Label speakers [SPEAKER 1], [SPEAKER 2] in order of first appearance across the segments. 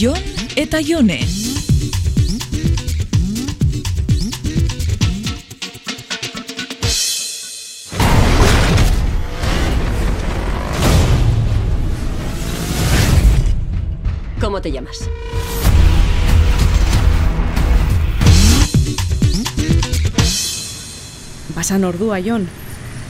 [SPEAKER 1] Jon eta Jone.
[SPEAKER 2] ¿Cómo te llamas?
[SPEAKER 3] Basan ordua, Jon.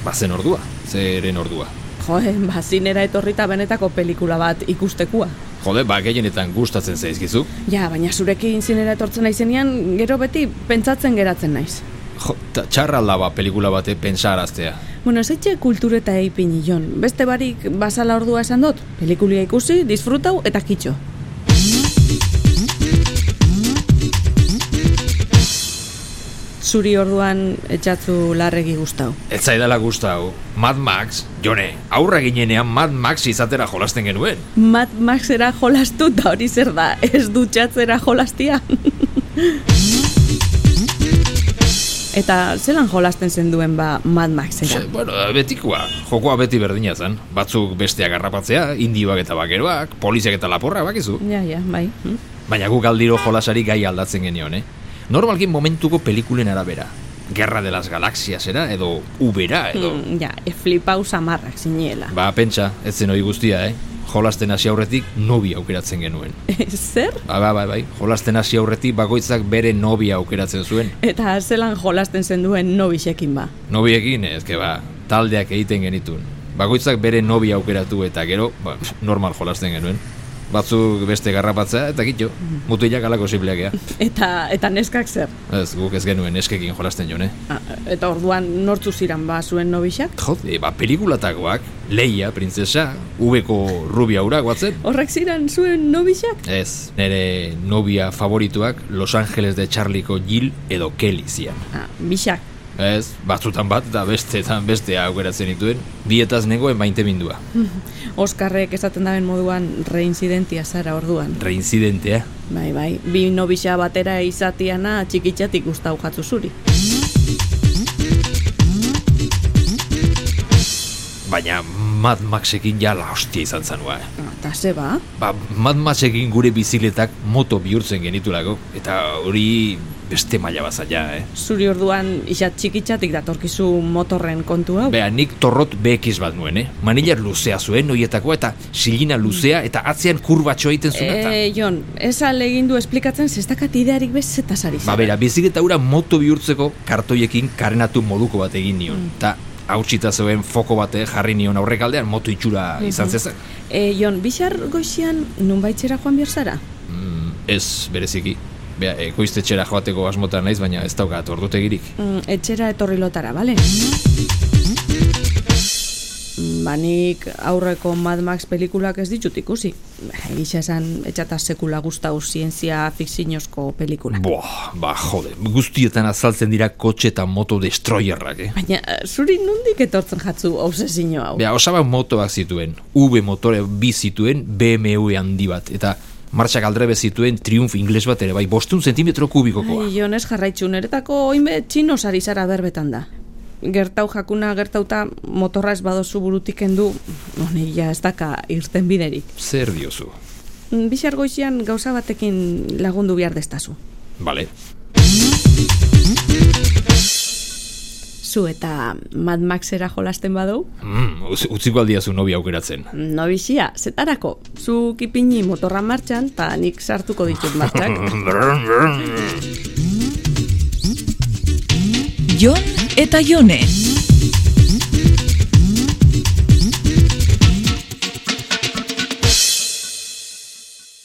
[SPEAKER 4] Bazen ordua, zeren ordua.
[SPEAKER 3] Joe, bazinera etorrita benetako pelikula bat ikustekua.
[SPEAKER 4] Jode, ba, gehienetan gustatzen zaizkizu.
[SPEAKER 3] Ja, baina zurekin zinera etortzen naizenean, gero beti pentsatzen geratzen naiz.
[SPEAKER 4] Jo, ta, txarra alda ba pelikula bate pensaraztea.
[SPEAKER 3] Bueno, ez etxe kultureta eipini, Jon. Beste barik basala ordua esan dut, pelikulia ikusi, disfrutau eta kitxo. Zuri orduan etxatzu larregi gustau.
[SPEAKER 4] Ez zaidala gustau, Mad Max, jone, aurra ginenean Mad Max izatera jolasten genuen.
[SPEAKER 3] Mad Maxera jolastu eta hori zer da, ez dutxatzera jolastia. Eta zelan jolasten zenduen ba Mad Maxera?
[SPEAKER 4] Ze, bueno, betikoa, jokoa beti berdina zen. Batzuk besteak garrapatzea, indioak eta bakeroak, poliziak eta laporra, bakizu.
[SPEAKER 3] Ja, ja, bai. hm.
[SPEAKER 4] Baina guk aldiro jolasari gai aldatzen genion, eh? Normalkin momentuko pelikulen arabera. Gerra de las Galaxiasera, edo Ubera, edo...
[SPEAKER 3] Mm, ja, e, flipau samarrak ziniela.
[SPEAKER 4] Ba, pentsa, ez zen hori guztia, eh? Jolasten hasi aurretik nobi aukeratzen genuen.
[SPEAKER 3] Zer?
[SPEAKER 4] Ba, ba, bai, bai. Jolasten hasi aurretik bakoitzak bere nobia aukeratzen zuen.
[SPEAKER 3] Eta zelan jolasten zenduen nobisekin ba.
[SPEAKER 4] Nobiekin, ezke ba, taldeak egiten genitun. Bakoitzak bere nobia aukeratu eta gero, ba, pf, normal jolasten genuen. Batzuk beste garrapatza eta kitxo, mutilak alako zibleak ea.
[SPEAKER 3] Eta, eta neskak zer?
[SPEAKER 4] Ez, guk ez genuen eskekin jolasten eh? jone.
[SPEAKER 3] A- Eta orduan nortzu ziran ba zuen nobisak?
[SPEAKER 4] Jode, ba, pelikulatakoak, Leia, printzesa, ubeko rubia hura guatzen.
[SPEAKER 3] Horrek ziran zuen nobisak?
[SPEAKER 4] Ez, nire nobia favorituak Los Angeles de Charlieko Jill edo Kelly zian.
[SPEAKER 3] Ah, bisak.
[SPEAKER 4] Ez, batzutan bat eta besteetan bestea aukeratzen dituen, dietaz nengoen maite mindua.
[SPEAKER 3] Oskarrek esaten daben moduan reinzidentia zara orduan.
[SPEAKER 4] Reinzidentea.
[SPEAKER 3] Bai, bai, bi nobisa batera izatiana txikitxatik guztau jatzu zuri.
[SPEAKER 4] Baina Mad Maxekin ja la hostia izan zanua. eh.
[SPEAKER 3] Ah, Eta ze ba?
[SPEAKER 4] Ba, Mad Maxekin gure biziletak moto bihurtzen genitulako, eta hori beste maila bat zaila, eh?
[SPEAKER 3] Zuri orduan isa txikitxatik datorkizu motorren kontu hau.
[SPEAKER 4] Bea, nik torrot BX bat nuen, eh? Manilar luzea zuen, noietakoa, eta silina luzea, eta atzean kurbatxo egiten zuen, eta...
[SPEAKER 3] E, Jon, ez egin du esplikatzen zestakat idearik bez zetasari
[SPEAKER 4] Ba, bera, biziketa hura moto bihurtzeko kartoiekin karenatu moduko bat egin nion. Ta, hautsita zeuen foko bate jarri nion aurrekaldean moto itxura izan zezan.
[SPEAKER 3] E, Jon, bixar goizian nunbaitzera joan behar zara?
[SPEAKER 4] Mm, ez, bereziki. Bea, ekoiztetxera joateko asmotan naiz, baina ez daukat ordutegirik.
[SPEAKER 3] Mm, etxera etorri lotara, bale? Mm, Ba nik aurreko Mad Max pelikulak ez ditut ikusi. Egisa esan etxata sekula gustau zientzia fikzinozko pelikulak.
[SPEAKER 4] Boa, ba, jode, guztietan azaltzen dira kotxe eta moto destroyerrak, eh?
[SPEAKER 3] Baina, eh, zuri nondik etortzen jatzu obsesio hau?
[SPEAKER 4] Bea, osaba motoak zituen, V motore bi zituen, BMW handi bat, eta martxak aldrebe zituen triumf ingles bat ere, bai, bostun zentimetro kubikokoa.
[SPEAKER 3] Ai, Jones jarraitzu, niretako oinbe txino sari zara berbetan da. Gertau jakuna gertauta motorra ez badozu burutik kendu, honi ja ez daka irten biderik.
[SPEAKER 4] Zer diozu?
[SPEAKER 3] Bixar goizian gauza batekin lagundu behar destazu.
[SPEAKER 4] Bale,
[SPEAKER 3] Zu eta Mad Maxera jolasten badau?
[SPEAKER 4] Mm, utz- utziko aldiazu nobi aukeratzen.
[SPEAKER 3] No bizia, zetarako. Zuk ipini motorra martxan, eta nik sartuko ditut martxak.
[SPEAKER 1] Jon eta Jone.